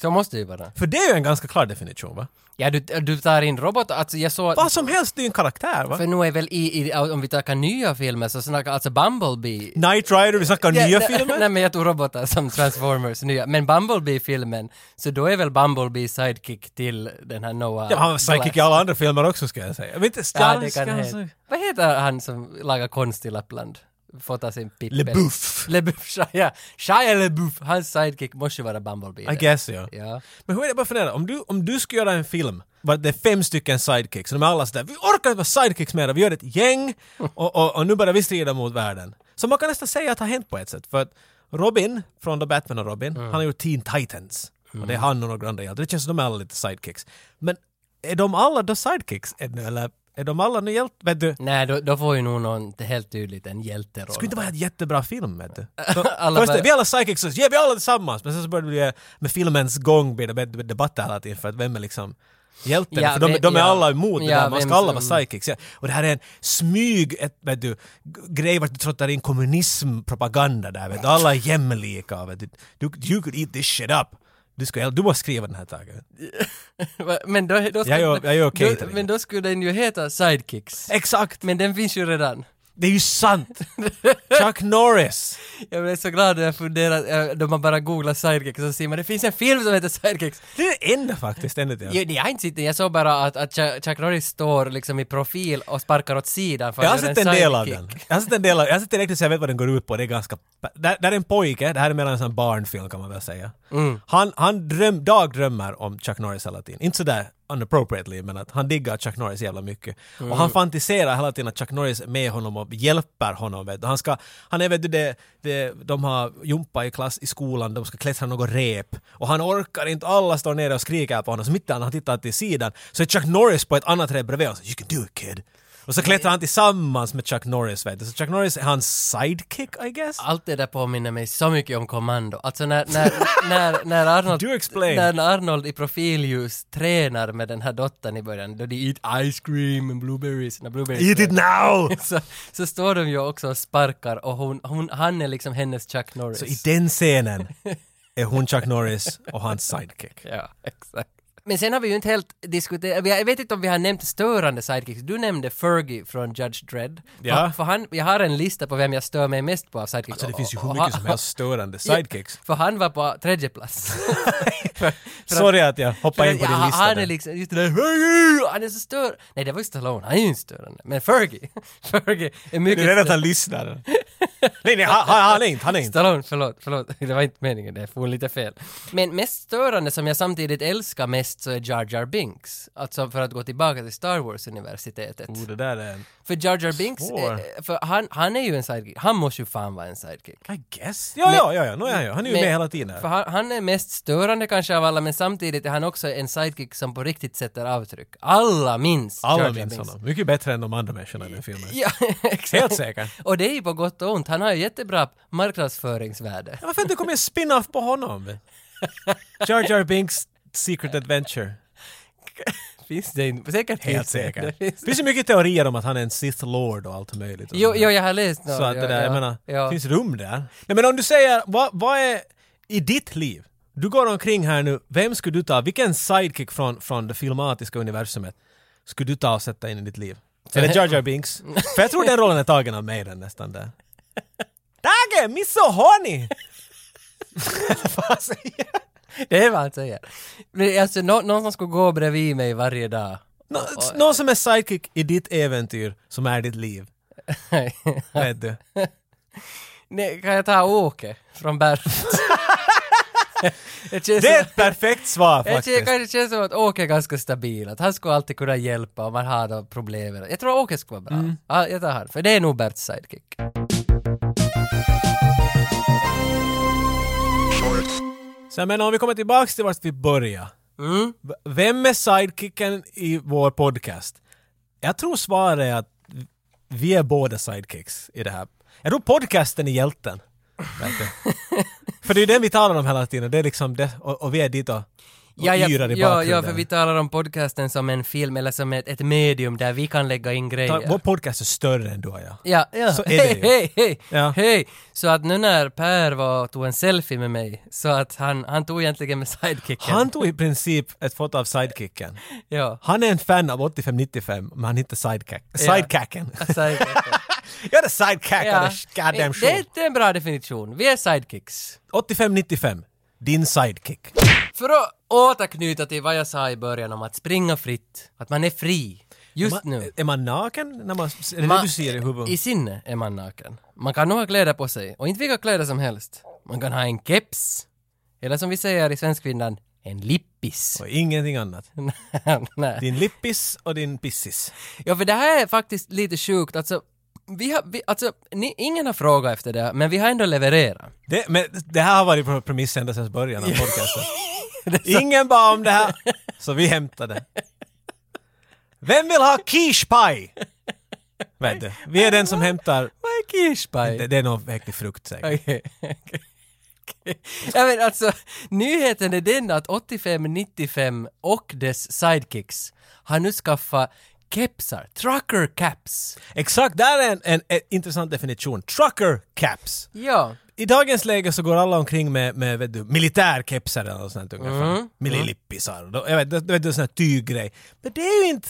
S1: Så måste det ju vara.
S2: För det är ju en ganska klar definition va?
S1: Ja, du, du tar in robotar, alltså jag såg...
S2: Vad som helst, det är ju en karaktär va?
S1: För nu är väl i, i, om vi tar nya filmer så snackar alltså Bumblebee...
S2: Knight Rider, vi snackar
S1: Ja,
S2: nya
S1: nej,
S2: filmer?
S1: Nej men jag tog robotar som Transformers nya. Men Bumblebee-filmen, så då är väl Bumblebee sidekick till den här Noah...
S2: ja, han var sidekick i
S1: Glass.
S2: alla andra filmer också ska jag säga. Men inte alltså.
S1: Ja, det
S2: Starsky,
S1: kan heta. Vad heter han som lagar konst i Lappland? Får ta sin pippel.
S2: LeBouf.
S1: LeBouf, Shia- ja. Shia LeBouf, hans sidekick måste ju vara Bumblebee.
S2: I guess ja.
S1: Ja.
S2: Men hur är det, bara fundera, om du, om du skulle göra en film var det är fem stycken sidekicks, och de är alla sådär vi orkar inte vara sidekicks mer, vi gör ett gäng och, och, och nu börjar vi strida mot världen. Så man kan nästan säga att det har hänt på ett sätt, för att Robin från The Batman och Robin,
S1: Mm.
S2: han har gjort Teen Titans. Och det är han och några andra hjältar, det känns som de är alla lite sidekicks. Men är de alla då sidekicks ännu, eller är de alla nu hjältar? Vet du,
S1: Nej, då, då får ju nog någon helt tydligt en hjälteroll.
S2: det skulle inte vara en jättebra film vet du.
S1: Alla
S2: Först,
S1: bara-
S2: vi är alla sidekicks, så ja vi är alla tillsammans. Men sen så började det bli, med filmens gång blir det bättre debatter hela tiden för att vem är liksom hjälten?
S1: Ja,
S2: för de,
S1: ve-
S2: de är
S1: ja.
S2: alla emot
S1: Ja,
S2: det där, man
S1: vem
S2: ska alla
S1: som-
S2: vara sidekicks. Ja. Och det här är en smyg, ett, vet du, g- grej vart du trottar in kommunismpropaganda där vet du. Alla är jämlika vet du. du. You could eat this shit up. Du, ska, du måste skriva den här taget.
S1: Va? Men då, då
S2: Jag gör- jag gör
S1: då,
S2: catering.
S1: Men då skulle den ju heta Sidekicks.
S2: Exakt!
S1: Men den finns ju redan.
S2: Det är ju sant! Chuck Norris!
S1: Jag blev så glad när jag funderade, eh, då man bara googlar Sidekicks så ser man det finns en film som heter Sidekicks.
S2: Det är det enda faktiskt, enligt jag.
S1: Jag, jag har inte sett den, jag såg bara att, att Chuck Chuck Norris står liksom i profil och sparkar åt sidan för
S2: Jag har
S1: att
S2: sett
S1: göra
S2: en del av
S1: sidekick.
S2: den. Jag har sett en del av Jag har sett direkt så jag vet vad den går ut på. Det är ganska... Där, där är en pojke, det här är mer en sån barnfilm kan man väl säga. Han, han dröm, dagdrömmer om Chuck Norris hela tiden. Inte sådär unappropriately, men att han diggar Chuck Norris jävla mycket. Och han fantiserar hela tiden att Chuck Norris är med honom och hjälper honom. Vet du. Han, ska, han är vet du, det, det, de har jumpa i klass i skolan, de ska klättra något rep. Och han orkar inte, alla står nere och skriker på honom. Så mitt i allt när han tittar till sidan så är Chuck Norris på ett annat rep bredvid och säger “You can do it kid”. Och så klättrar han tillsammans med Chuck Norris, vet du. Så Chuck Norris är hans sidekick, I guess?
S1: Allt det där påminner mig så mycket om Kommando. Alltså när, när, när, när, Arnold,
S2: Do explain.
S1: när Arnold i profilljus tränar med den här dottern i början, då de eat ice cream and blueberries. När blueberries
S2: Eat it now!
S1: så, så står de ju också och sparkar och hon, hon, han är liksom hennes Chuck Norris.
S2: Så i den scenen är hon Chuck Norris och hans sidekick.
S1: Ja, exakt. Men sen har vi ju inte helt diskuterat, jag vet inte om vi har nämnt störande sidekicks. Du nämnde Fergie från Judge Dredd.
S2: Ja.
S1: För, för han, jag har en lista på vem jag stör mig mest på av sidekicks.
S2: Alltså det finns ju
S1: Och-
S2: hur
S1: och-
S2: mycket som
S1: och-
S2: helst störande sidekicks.
S1: För han var på tredje plats. för, för att-
S2: Sorry att jag hoppade in på
S1: Ja,
S2: din lista
S1: Han är
S2: där.
S1: liksom, just det där, "Fergie!" han är så stör. Nej, det var ju Stallone, han är ju inte störande. Men Fergie, Fergie är
S2: Du
S1: mycket
S2: är rädd att
S1: större.
S2: han lyssnar. Nej, nej, han, han han är inte, han är inte.
S1: Stallone, förlåt, förlåt, det var inte meningen, det for lite fel. Men mest störande som jag samtidigt älskar mest så är Jar Jar Binks. Alltså för att gå tillbaka till Star Wars-universitetet.
S2: Oh, det där är...
S1: För Jar Jar Binks,
S2: Svår.
S1: eh, för han, han är ju en sidekick, han måste ju fan vara en sidekick.
S2: I guess. Ja, ja, ja, ja, nu är han ju. Han är ju
S1: Men-
S2: med hela tiden.
S1: För
S2: här.
S1: han, han är mest störande kanske av alla, men samtidigt är han också en sidekick som på riktigt sätter avtryck. Alla minns Jar
S2: Alla
S1: Jar
S2: minns
S1: Binks.
S2: honom. Mycket bättre än de andra människorna i den filmen.
S1: Ja, exakt.
S2: Helt säkert.
S1: Och det är ju på gott och ont, han har ju jättebra marknadsföringsvärde.
S2: Ja, Varför inte kommer en spin-off på honom? Jar Jar Binks Secret Adventure.
S1: Finns det inte? Säkert
S2: Helt
S1: finns det.
S2: säkert.
S1: Det
S2: Det
S1: finns det.
S2: finns ju mycket teorier om att han är en Sith Lord och allt möjligt.
S1: Jo, jo, jag har läst något.
S2: Alltså. Så att det där,
S1: ja,
S2: jag menar,
S1: ja.
S2: finns rum där. Nej men om du säger, vad, vad är i ditt liv? Du går omkring här nu, vem skulle du ta, vilken sidekick från, från det filmatiska universumet skulle du ta och sätta in i ditt liv? Är det Jar Jar Binks? För jag tror den rollen är tagen av mig den nästan där. Tage, misohoni! Vad säger jag?
S1: Det är vad han säger. Men alltså, nå- någon som skulle gå bredvid mig varje dag.
S2: Nå- Någon som är sidekick i ditt äventyr som är ditt liv. Vet du?
S1: Nej, kan jag ta Åke från Bert? Det känns
S2: Det är
S1: som,
S2: ett perfekt svar
S1: jag tycker,
S2: faktiskt.
S1: kanske det känns som att Åke är ganska stabil, att han skulle alltid kunna hjälpa om man har några problem. Jag tror Åke skulle vara bra.
S2: Mm.
S1: Ja, jag tar han, för det är nog Berts sidekick.
S2: Så jag menar om vi kommer tillbaks till vart vi började.
S1: Mm.
S2: V- Vem är sidekicken i vår podcast? Jag tror svaret är att vi är båda sidekicks i det här. Jag tror podcasten är hjälten. verkligen. För det är ju den vi talar om hela tiden, det är liksom det, och, och vi är dit och, och
S1: Ja, ja,
S2: yrar i
S1: ja,
S2: bakgrunden.
S1: ja, för vi talar om podcasten som en film eller som ett, ett medium där vi kan lägga in
S2: Ta- Vår
S1: grejer.
S2: podcast är större än du och jag.
S1: Ja, ja.
S2: Så är det
S1: hej,
S2: ju.
S1: hej, hej,
S2: Ja.
S1: hej! Så att nu när Per var och tog en selfie med mig, så att han, han tog egentligen med sidekicken.
S2: Han tog i princip ett foto av sidekicken.
S1: Ja.
S2: Han är en fan av 85-95, men han heter sidekick. sidekicken.
S1: Sidekicken.
S2: jag är sidekick
S1: Ja.
S2: ja. goddamn
S1: Det
S2: show.
S1: är inte en bra definition. Vi är sidekicks.
S2: 85-95, din sidekick.
S1: För att återknyta till vad jag sa i början om att springa fritt, att man är fri. Just
S2: Ma-
S1: nu.
S2: Är man naken när man... Är det
S1: Man-
S2: det du ser i huvudet?
S1: I sinne är man naken. Man kan nog ha kläder på sig, och inte vilka kläder som helst. Man kan ha en keps, eller som vi säger i Svenskfinland, en lippis.
S2: Och ingenting annat.
S1: Nej.
S2: Din lippis och din pissis.
S1: Ja, för det här är faktiskt lite sjukt. Alltså, vi har, vi, alltså ni, ingen har frågat efter det, men vi har ändå levererat.
S2: Det, men det här har varit pro- premiss ända sedan början av podcasten. Ingen bad om det här, så vi hämtade. Vem vill ha quiche pie? Vet du, vi är den som hämtar...
S1: Vad är kirschpaj?
S2: Det, det är någon äcklig frukt säkert.
S1: Okej. Okej. Ja men alltså, nyheten är den att 85-95 och dess sidekicks har nu skaffat kepsar, trucker caps.
S2: Exakt, där är en, en, en intressant definition. Trucker caps.
S1: Ja.
S2: I dagens läge så går alla omkring med, med vet du, militärkepsar eller något sånt ungefär.
S1: Mm.
S2: Millilippisar. Då- Jag vet, det, vet du, sån här tyggrej. Men det är ju inte...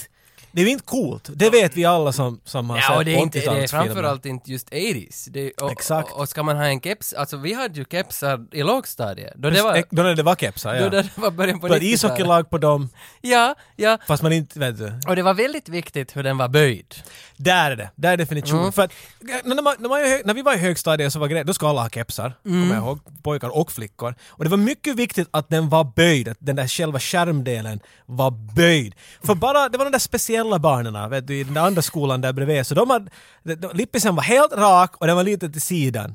S2: Det är ju inte coolt. Det vet vi alla som, som har
S1: Ja, och det är, inte, det är
S2: 80-talsfilmer.
S1: framförallt inte just 80s. Det är, och,
S2: Exakt.
S1: Och, och ska man ha en keps, alltså vi hade ju kepsar i lågstadiet. Då det var,
S2: Ex- Då när det var kepsar,
S1: då
S2: ja.
S1: det var början på
S2: Du hade
S1: 90-talet.
S2: ishockeylag på dem,
S1: Ja, ja.
S2: fast man inte... Vet du.
S1: Och det var väldigt viktigt hur den var böjd.
S2: Där är det, där är definitionen.
S1: Mm.
S2: För att, eh, när, man, när, man, är hö- när vi var i högstadiet så var grejen, då ska alla ha kepsar,
S1: Mm.
S2: kommer jag ihåg, pojkar och flickor. Och det var mycket viktigt att den var böjd, att den där själva skärmdelen var böjd. För bara, det var de där speciella barnen, vet du, i den där andra skolan där bredvid, så de hade, de- de- lippisen var helt rak och den var lite till sidan.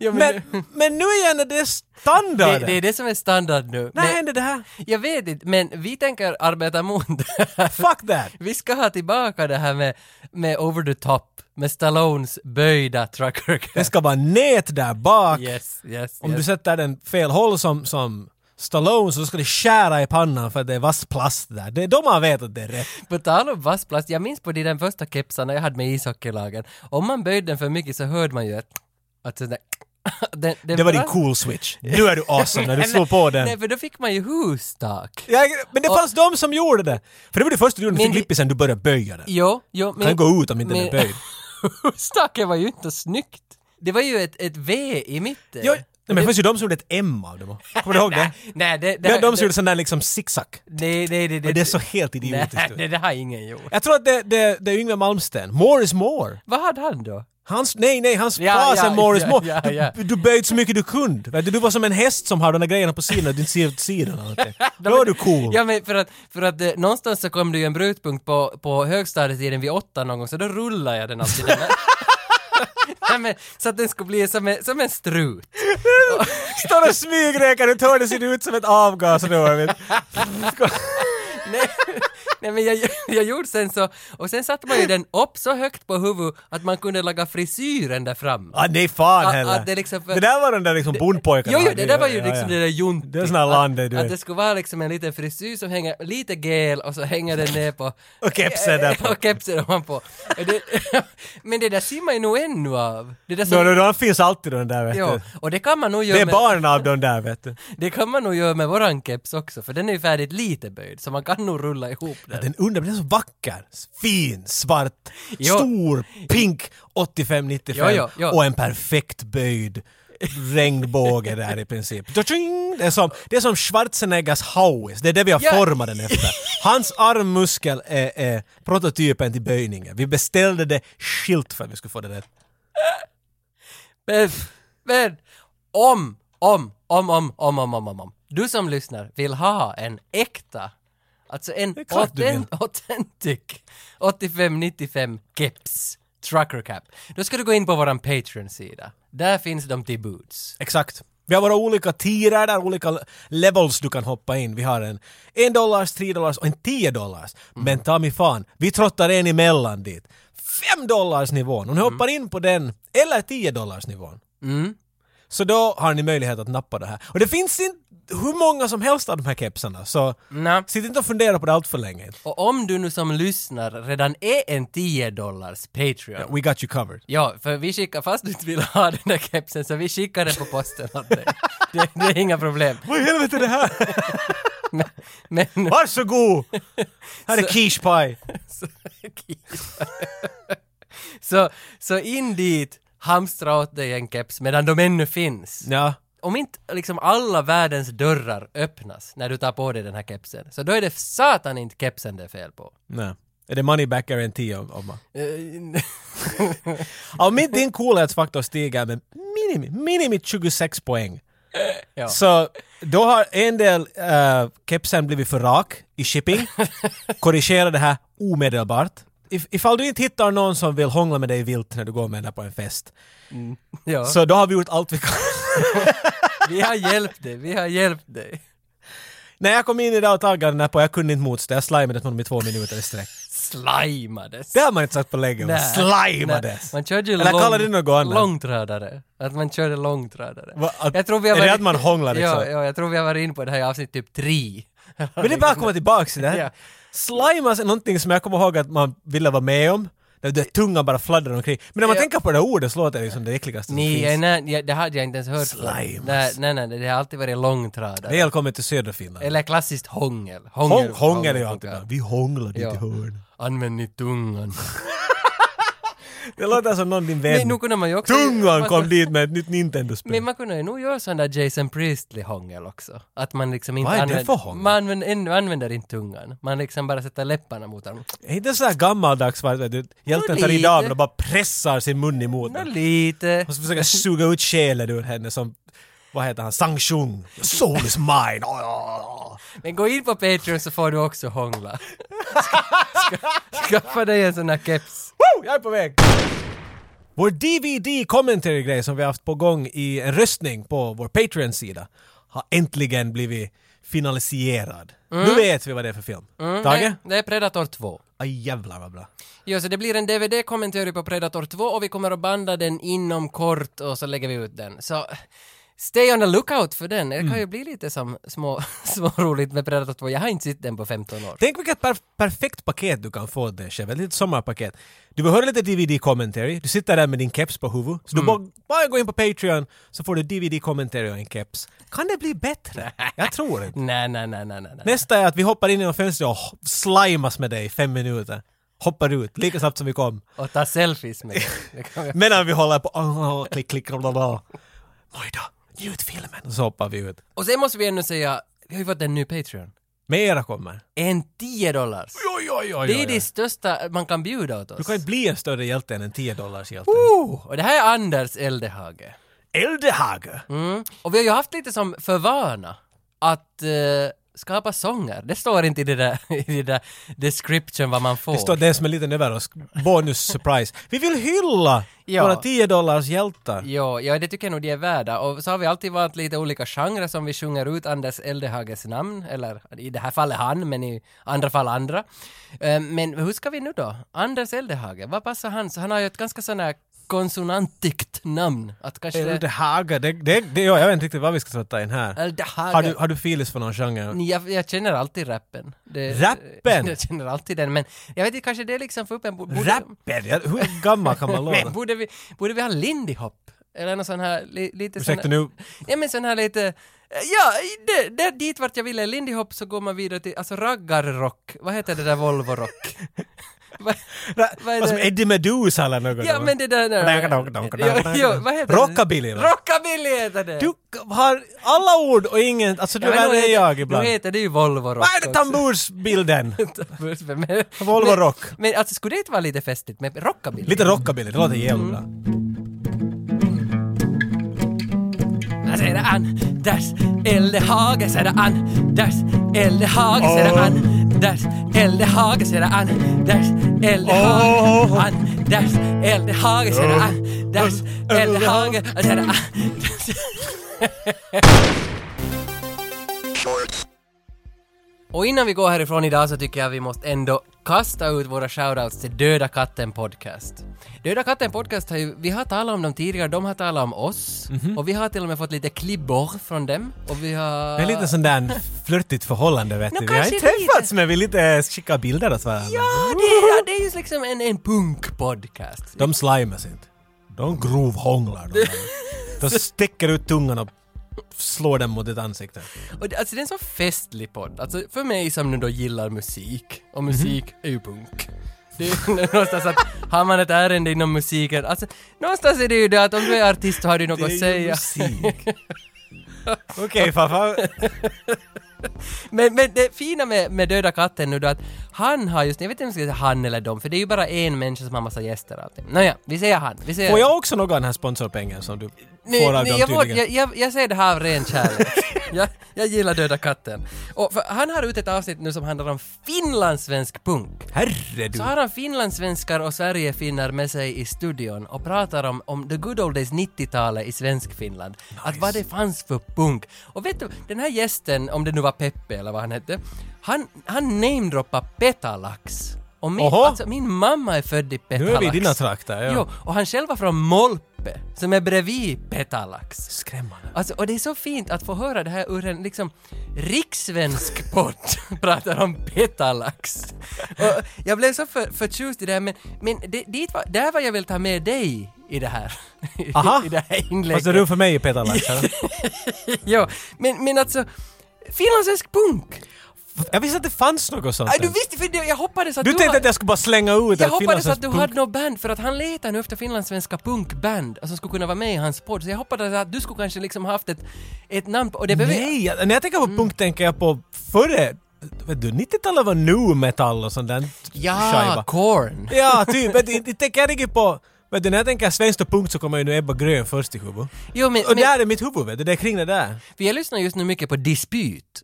S2: men, men nu igen är det
S1: Det,
S2: standard!
S1: det är det som är standard nu.
S2: När
S1: Men-
S2: hände det här?
S1: Jag vet inte, men vi tänker arbeta mot det här.
S2: Fuck that!
S1: Vi ska ha tillbaka det här med, med over the top, med Stallones böjda trucker
S2: Det ska vara nät där bak.
S1: Yes, yes,
S2: Om
S1: yes.
S2: du sätter den fel håll som, som Stallone så ska det skära i pannan för att det är vass plast där. Det är då man vet att det är rätt.
S1: På tal om vassplast, jag minns på de den första kepsarna jag hade med ishockeylagen. Om man böjde den för mycket så hörde man ju ett... Att sådär, den, den
S2: Det var din
S1: brast.
S2: cool switch. Nu är du awesome när du slog på den.
S1: Nej, för då fick man ju hustak.
S2: Ja, men det fanns de som gjorde det. För det var det första du gjorde när du
S1: Men-
S2: fick lippisen, du började böja den.
S1: Jo, jo, men...
S2: Kan gå ut om inte den är
S1: men-
S2: böjd.
S1: Hustaket var ju inte snyggt. Det var ju ett, ett V i mitten.
S2: Jo, nej, men det fanns ju de som gjorde ett M av dem. Kommer du ihåg det?
S1: Nej, det...
S2: Det var de som gjorde sån där liksom zigzag.
S1: Nej, nej, nej.
S2: Men det är så helt idiotiskt
S1: Nej,
S2: ut.
S1: det, det har ingen gjort.
S2: Jag tror att det, det, det är Yngve Malmsten. More is more.
S1: Vad hade han då?
S2: Hans, nej, nej, hans
S1: Ja,
S2: fas
S1: ja,
S2: är Morris
S1: ja,
S2: Moore.
S1: ja, ja.
S2: Du, du böjde så mycket du kunde. Vet Du, du var som en häst som har de där grejerna på sidan och du inte ser åt sidan. eller någonting. Då var du cool.
S1: Ja men för att, för att eh, någonstans så kom det ju en brytpunkt på, på högstadietiden vid åtta någon gång, så då rullade jag den alltid. Den där. Nej, men, så att den skulle bli som en, som en strut.
S2: Står och smygröker och hörnet ser ut som ett avgasrör. vet du.
S1: Nej, nej men jag, jag gjorde sen så, och sen satte man ju den upp så högt på huvudet att man kunde laga frisyren där fram.
S2: Ah, nej, fan
S1: Ah,
S2: heller.
S1: ah, det är liksom för-
S2: det där var de där liksom bondpojkarna.
S1: Jo, jo, det där var ju
S2: Ja,
S1: liksom
S2: ja.
S1: det där juntigt.
S2: Det är såna här landet, du
S1: Att,
S2: vet.
S1: att det skulle vara liksom en liten frisyr som hänger lite gel och så hänger den ner på...
S2: Och kepsen där på.
S1: och kepsen ovanpå. Och det, men det där ser man ju nog ännu av. Det där
S2: Då,
S1: som,
S2: då, då finns alltid de där vet
S1: ja,
S2: du.
S1: och det kan man nog
S2: Det
S1: göra
S2: är
S1: med,
S2: barnen av de där vet du.
S1: det kan man nog göra med våran keps också, för den är ju färdigt lite böjd, så man kan nog rulla ihop den.
S2: Den undrar, den är så vacker. Fin, svart,
S1: Jo.
S2: stor, pink 85-95
S1: Jo, jo, jo.
S2: och en perfekt böjd regnbåge där i princip. Ta-ching! Det är som, det är som Schwarzeneggers Howis, det är det vi har
S1: Ja.
S2: format den efter. Hans armmuskel är, är prototypen till böjningen. Vi beställde det skilt för att vi skulle få det rätt.
S1: Men, men om Om, om, om, om, om, om, om, om. Du som lyssnar vill ha en äkta, alltså en
S2: är klart du
S1: autent- authentic 8595 keps, trucker cap. Då ska du gå in på våran Patreon-sida. Där finns de till buds.
S2: Exakt. Vi har våra olika tirar där, olika le- levels du kan hoppa in. Vi har en 1 dollars, 3 dollars och en 10 dollars. Men ta mig fan, vi trottar en emellan dit. 5 dollars nivån. Om ni hoppar in på den, eller 10 dollars nivån. Så då har ni möjlighet att nappa det här. Och det finns inte hur många som helst av de här kepsarna, så
S1: Nå.
S2: sitt inte och fundera på det allt för länge.
S1: Och om du nu som lyssnar redan är en 10 dollars Patreon.
S2: We got you covered.
S1: Ja, för vi skickar, fast du inte vill ha den där kepsen, så vi skickar den på posten åt dig. Det, det är inga problem.
S2: Vad i helvete är det här?
S1: Men, men
S2: Varsågod! Här är quiche pie.
S1: så, så, så in dit, hamstra åt dig en keps medan de ännu finns.
S2: Ja.
S1: Om inte liksom alla världens dörrar öppnas när du tar på dig den här kepsen, så då är det satan inte kepsen det är fel på.
S2: Nej. Är det money back guarantee om, om man...
S1: Eh,
S2: Om inte din coolhetsfaktor stiger med minimi, minimi 26 poäng
S1: Ja.
S2: så då har en del äh, kepsen blivit för rak i shipping. Korrigera det här omedelbart. If, ifall du inte hittar någon som vill hångla med dig vilt när du går med den där på en fest
S1: ja,
S2: så då har vi gjort allt vi kan.
S1: vi har hjälpt dig, vi har hjälpt dig.
S2: när jag kom in idag och taggade den här på, jag kunde inte motstå. Jag slimade honom i två minuter i sträck.
S1: Slimades.
S2: Det har man inte sagt på länge. Man
S1: Nej.
S2: slimades!
S1: Nej, Man körde ju
S2: Eller kallar det något annat?
S1: långtradare. Att man körde långtradare.
S2: Va, att-
S1: jag tror vi har
S2: är det
S1: varit-
S2: att man hånglar liksom?
S1: Ja, ja, jag tror vi har varit inne på det här i avsnitt typ tre.
S2: Men det är bara att komma tillbaka till det
S1: Ja.
S2: här. Slimas är någonting som jag kommer ihåg att man ville vara med om. Där det tungan bara fladdrar omkring. Men när man
S1: Ja.
S2: tänker på det här ordet så låter det som det äckligaste
S1: Ni,
S2: som
S1: eh,
S2: finns. alltså.
S1: nej, nej, det hade jag inte ens hört förut.
S2: Slimas.
S1: Nej, nej, nej, det har alltid varit långtradare.
S2: Välkommen till södra Finland.
S1: Eller klassiskt hångel.
S2: Hång, hångel är ju alltid
S1: funkar.
S2: bra. Vi hånglade
S1: Ja.
S2: inte hörn.
S1: Använd ni tungan.
S2: Det låter som någon din
S1: Men
S2: vän.
S1: nu kunde man ju också...
S2: Tungan
S1: man-
S2: kom dit med ett nytt Nintendo-spel.
S1: Men man kunde ju nog göra sån där Jason Priestley hångel också. Att man liksom inte
S2: Vad är det
S1: använder...
S2: för hångel?
S1: Man använder, en- använder inte tungan. Man liksom bara sätter läpparna mot varandra.
S2: Är inte så här gammaldags va, vet du? Hjälten
S1: Nå,
S2: tar i
S1: lite.
S2: damen och bara pressar sin mun emot
S1: Nå
S2: den.
S1: lite.
S2: Och så försöker suga ut själen ur henne som, vad heter han, Sang Shung. Your soul is mine. Oh, oh, oh.
S1: Men gå in på Patreon så får du också hångla. Ska, ska, skaffa dig en sån här keps.
S2: Woo! Jag är på väg! Vår DVD commentary-grej som vi har haft på gång i en röstning på vår Patreon-sida har äntligen blivit finaliserad. Nu vet vi vad det är för film. Tage?
S1: Nej, Det är Predator 2.
S2: Aj jävlar vad bra.
S1: Ja, så det blir en DVD-kommentar på Predator 2 och vi kommer att banda den inom kort och så lägger vi ut den. Så stay on the lookout för den. Det kan
S2: Mm.
S1: ju bli lite som små, små roligt med Predator 2. Jag har inte sett den på 15 år.
S2: Tänk vilket per- perfekt paket du kan få det själv, ett litet sommarpaket. Du behöver lite DVD commentary, du sitter där med din keps på huvudet, så du bara, bara går in på Patreon så får du DVD commentary och en keps. Kan det bli bättre? Jag tror inte.
S1: Nej, nej, nej, nej, nej. nej.
S2: Nästa är att vi hoppar in genom fönstret och h- slimas med dig i fem minuter. Hoppar ut lika snabbt som vi kom.
S1: Och ta selfies med den. Det kan vi-
S2: Medan vi håller på... Oh, oh, klick, klick, bla, bla, bla. Oj då, njut filmen. Och så hoppar vi ut.
S1: Och sen måste vi ännu säga, vi har ju fått en ny Patreon.
S2: Mera kommer.
S1: En 10 dollars.
S2: Oj, oj, oj,
S1: Det är det största man kan bjuda åt oss.
S2: Du kan inte bli en större hjälte än en 10 dollars hjälte.
S1: Oh, och det här är Anders Eldehage.
S2: Uh. Eldehage!
S1: Mm. Och vi har ju haft lite som för vana att eh, skapa sånger. Det står inte i det där, i det där description vad man får.
S2: Det står det som en liten överrask. Bonus surprise. Vi vill hylla
S1: Ja.
S2: våra 10 dollars hjältar.
S1: Ja, ja, det tycker jag nog de är värda. Och så har vi alltid valt lite olika genrer som vi sjunger ut Anders Eldehages namn, eller i det här fallet han, men i andra fall andra. Eh, men hur ska vi nu då? Anders Eldehage, vad passar han? Så han har ju ett ganska sån här konsonantigt namn. Att kanske det-
S2: Eldehage, det, det, det, ja, jag vet inte riktigt vad vi ska sätta in här.
S1: Eldehage.
S2: Har du, har du feelings för någon genre?
S1: Ni, Jag, jag känner alltid rappen. Det,
S2: Rappen?
S1: Jag känner alltid den, men jag vet inte, kanske det är liksom för upp en... bo- Borde,
S2: Rapper? Ja, Hur gammal kan man
S1: Men
S2: låta?
S1: borde vi, borde vi ha Lindy Hop? Eller någon sån här, li, lite sån
S2: Ursäkta
S1: här,
S2: nu,
S1: Ja men sån här lite... Ja, det, det, dit vart jag ville. Lindy Hop så går man vidare till, alltså raggarrock. Vad heter det där Volvo-rock? Va- vad är
S2: vad som
S1: det?
S2: Eddie Meduza eller något.
S1: Ja men det där... Ja, ja, vad heter det?
S2: Rockabilly va?
S1: Rockabilly heter det!
S2: Du har alla ord och ingen, alltså du
S1: Ja, men
S2: är
S1: nu
S2: det
S1: heter-
S2: jag ibland.
S1: Nu heter det ju Volvo-rock
S2: Vad är det
S1: också.
S2: tambursbilden?
S1: Men-
S2: Volvo
S1: men-
S2: Rock.
S1: Men alltså skulle det inte vara lite festligt med rockabilly? Mm.
S2: Lite rockabilly, det låter jävligt bra.
S1: Alltså säger det Anders Eldehage säger det Anders Eldehage säger det Anders Eldehage säger det Anders Eldehage Anders Eldehage säger det Anders Eldehage säger det Anders Och innan vi går härifrån idag så tycker jag vi måste ändå kasta ut våra shoutouts till Döda katten podcast. Döda katten podcast har ju, vi har talat om dem tidigare, de har talat om oss
S2: Mhm.
S1: och vi har till och med fått lite klibbor från dem och vi har...
S2: Det är lite sån där flörtigt förhållande vet
S1: Mm. Nå,
S2: du. Vi har
S1: kanske
S2: inte
S1: lite.
S2: träffats men vi lite eh, skickar bilder åt varandra.
S1: Ja, det, ja, det är ju liksom en, en punkpodcast.
S2: De slimas inte. De grovhånglar. De, där. de sticker ut tungan och slår den mot ditt ansikte.
S1: Och det, alltså det är en sån festlig podd. Alltså för mig som nu då gillar musik, och musik är ju punk. Det är någonstans att, har man ett ärende inom musiken, alltså någonstans är det ju det att om du är artist så har du något att säga.
S2: musik. Okej farfar.
S1: Men, men det fina med, med Döda katten nu då att han har just, jag vet inte om jag ska säga han eller dem, för det är ju bara en människa som har massa gäster alltid. Nåja, vi säger han. Vi säger...
S2: Får jag också några av den här sponsorpengen som du
S1: Nej,
S2: får av
S1: nej,
S2: dem
S1: jag, får-
S2: tydligen?
S1: jag, jag, jag säger det här av ren kärlek. jag, jag gillar Döda katten. Och för, han har ut ett avsnitt nu som handlar om finlandssvensk punk.
S2: Herre du.
S1: Så har han finlandssvenskar och Sverigefinnar med sig i studion och pratar om, om the good old days 90-talet i Svenskfinland. Att vad det fanns för punk. Och vet du, den här gästen, om det nu var Peppe eller vad han hette, han, han namedroppar Petalax. Och min,
S2: Oho.
S1: alltså, min mamma är född i Petalax.
S2: Nu är vi i dina trakter. Ja.
S1: Jo, och han själv var från Molpe, som är bredvid Petalax.
S2: Skrämmande.
S1: Alltså, och det är så fint att få höra det här ur en liksom rikssvensk podd pratar om petalax. Och jag blev så för, förtjust i det här men, men det, dit var, där var jag vill ta med dig i det här.
S2: Aha.
S1: I, det här inlägget.
S2: Fast det är du för mig Peter Laxson.
S1: ja, men, men alltså, finlandssvensk punk!
S2: Jag visste att det fanns något sånt.
S1: Aj, du
S2: ens.
S1: visste, för det, jag hoppades att
S2: Alltså. du
S1: du,
S2: tänkte
S1: har-
S2: att jag skulle bara slänga ut
S1: jag
S2: att
S1: hoppades
S2: finlandssvensk
S1: att du
S2: punk-
S1: hade något band, för att han letar nu efter finlandssvenska punkband alltså, som skulle kunna vara med i hans podd. Så jag hoppades att du skulle kanske liksom haft ett, ett namn på... Och det behöver-
S2: Nej, jag- när jag tänker på
S1: Mm.
S2: punk tänker jag på före... Vet du, 90-talet var nu metal och sån där
S1: Ja,
S2: skiva.
S1: Korn!
S2: Ja, typ. Men inte tänker jag riktigt på... Vet du, när jag tänker svenskt och punk så kommer ju nu Ebba Grön först i huvudet.
S1: Jo, men,
S2: Och
S1: men
S2: där är mitt huvud, vet du. Det är kring det där.
S1: vi lyssnar just nu mycket på Dispyt.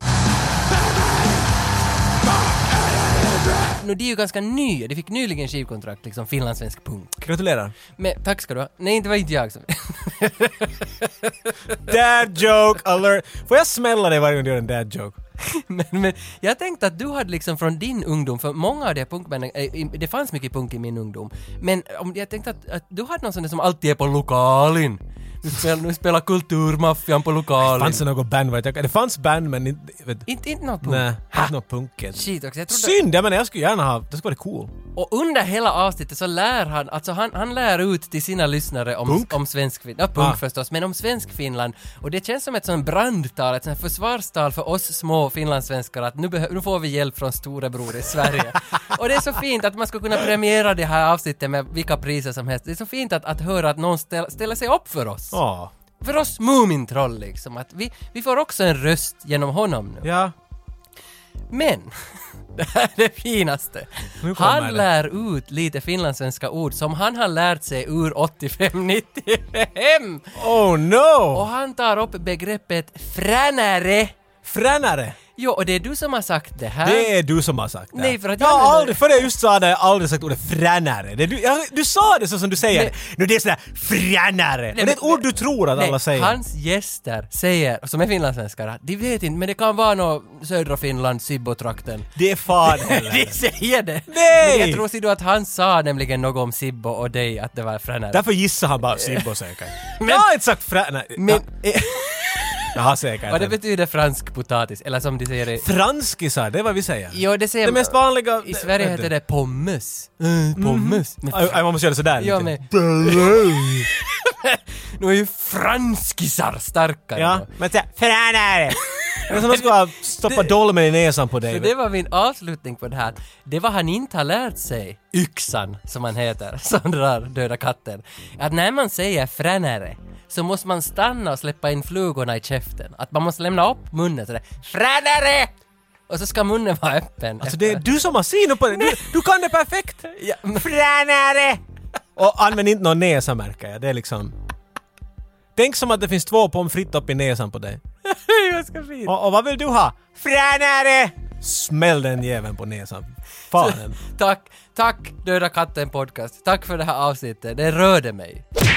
S1: Nu, de är ju ganska nya, de fick nyligen skivkontrakt, liksom finlandssvensk punk.
S2: Gratulerar.
S1: Men tack ska du ha. Nej, det var inte jag som...
S2: Dad joke alert! Får jag smälla dig varje gång du gör en dad joke?
S1: men, men jag tänkte att du hade liksom från din ungdom, för många av de här punkbanden, eh, i- det fanns mycket punk i min ungdom, men om, jag tänkte att, att du hade någon sån där som alltid är på lokalin. Nu spelar, nu spelar kulturmaffian på lokalin.
S2: Fanns det något band? Vet jag. Det fanns band men inte... Vet,
S1: Inte, inte något punk.
S2: nej, inte något punket.
S1: Shit också, jag trodde...
S2: Synd! Jag menar, jag skulle gärna ha... Det skulle vara cool.
S1: Och under hela avsnittet så lär han, alltså han, han lär ut till sina lyssnare om,
S2: Punk?
S1: om svensk ja punk
S2: Ah.
S1: förstås, men om svensk Finland. Och det känns som ett sånt brandtal, ett sånt här försvarstal för oss små finlandssvenskar att nu, behö- nu får vi hjälp från storebror i Sverige. och det är så fint att man ska kunna premiera det här avsnittet med vilka priser som helst. Det är så fint att, att höra att någon ställ, ställer sig upp för oss.
S2: Ja.
S1: För oss Mumintroll liksom, att vi, vi får också en röst genom honom nu.
S2: Ja.
S1: Men, det här är det finaste.
S2: Nu kommer
S1: Han
S2: det.
S1: lär ut lite finlandssvenska ord som han har lärt sig ur 85-95.
S2: Oh no!
S1: Och han tar upp begreppet fränare.
S2: Fränare!
S1: Jo, och det är du som har sagt det här.
S2: Det är du som har sagt det.
S1: Nej, för att
S2: jag
S1: jag
S2: har
S1: menar-
S2: aldrig, före jag just sa det, jag har aldrig sagt ordet fränare. Det, du, jag, du sa det så som du säger
S1: Nej.
S2: det. Nu det är sådär fränare. och det är ett
S1: men-
S2: ord du tror att
S1: Nej,
S2: alla säger.
S1: Hans gäster säger, som är finlandssvenskar, de vet inte, men det kan vara nå södra Finland, Sibbo-trakten.
S2: Det är fan
S1: De
S2: heller.
S1: säger det!
S2: Nej!
S1: Men jag tror Sido att han sa nämligen något om Sibbo och dig, att det var fränare.
S2: Därför gissar han bara Sibbo säkert. jag har inte sagt fränare.
S1: Men-
S2: Ja, jag har säkert.
S1: Vad det betyder fransk potatis, eller som de säger i...
S2: Franskisar, det är vad vi säger.
S1: Jo, det säger
S2: Det mest vanliga...
S1: I Sverige heter det pommes. Mm, pommes. Men
S2: Aj, aj, man måste göra sådär
S1: Ja,
S2: lite.
S1: nu är ju franskisar starkare.
S2: Ja, men såhär fränare. Det är som att man skulle ha stoppat dolmen i näsan på dig.
S1: För det var min avslutning på det här. Det var han inte har lärt sig, yxan som han heter, som drar döda katten. Att när man säger fränare så måste man stanna och släppa in flugorna i käften. Att man måste lämna upp munnen sådär. Fränare! Och så ska munnen vara öppen.
S2: Alltså det är du som har synat på det. Du, du kan det perfekt.
S1: Ja, men-
S2: Fränare! Och använd inte någon näsa märker jag. Det är liksom... Tänk som att det finns två pommes frites upp i näsan på dig.
S1: det är ganska fint.
S2: Och, och vad vill du ha? Fränare! Smäll den jäveln på näsan. Fan.
S1: Tack, tack Döda katten podcast. Tack för det här avsnittet. Det rörde mig.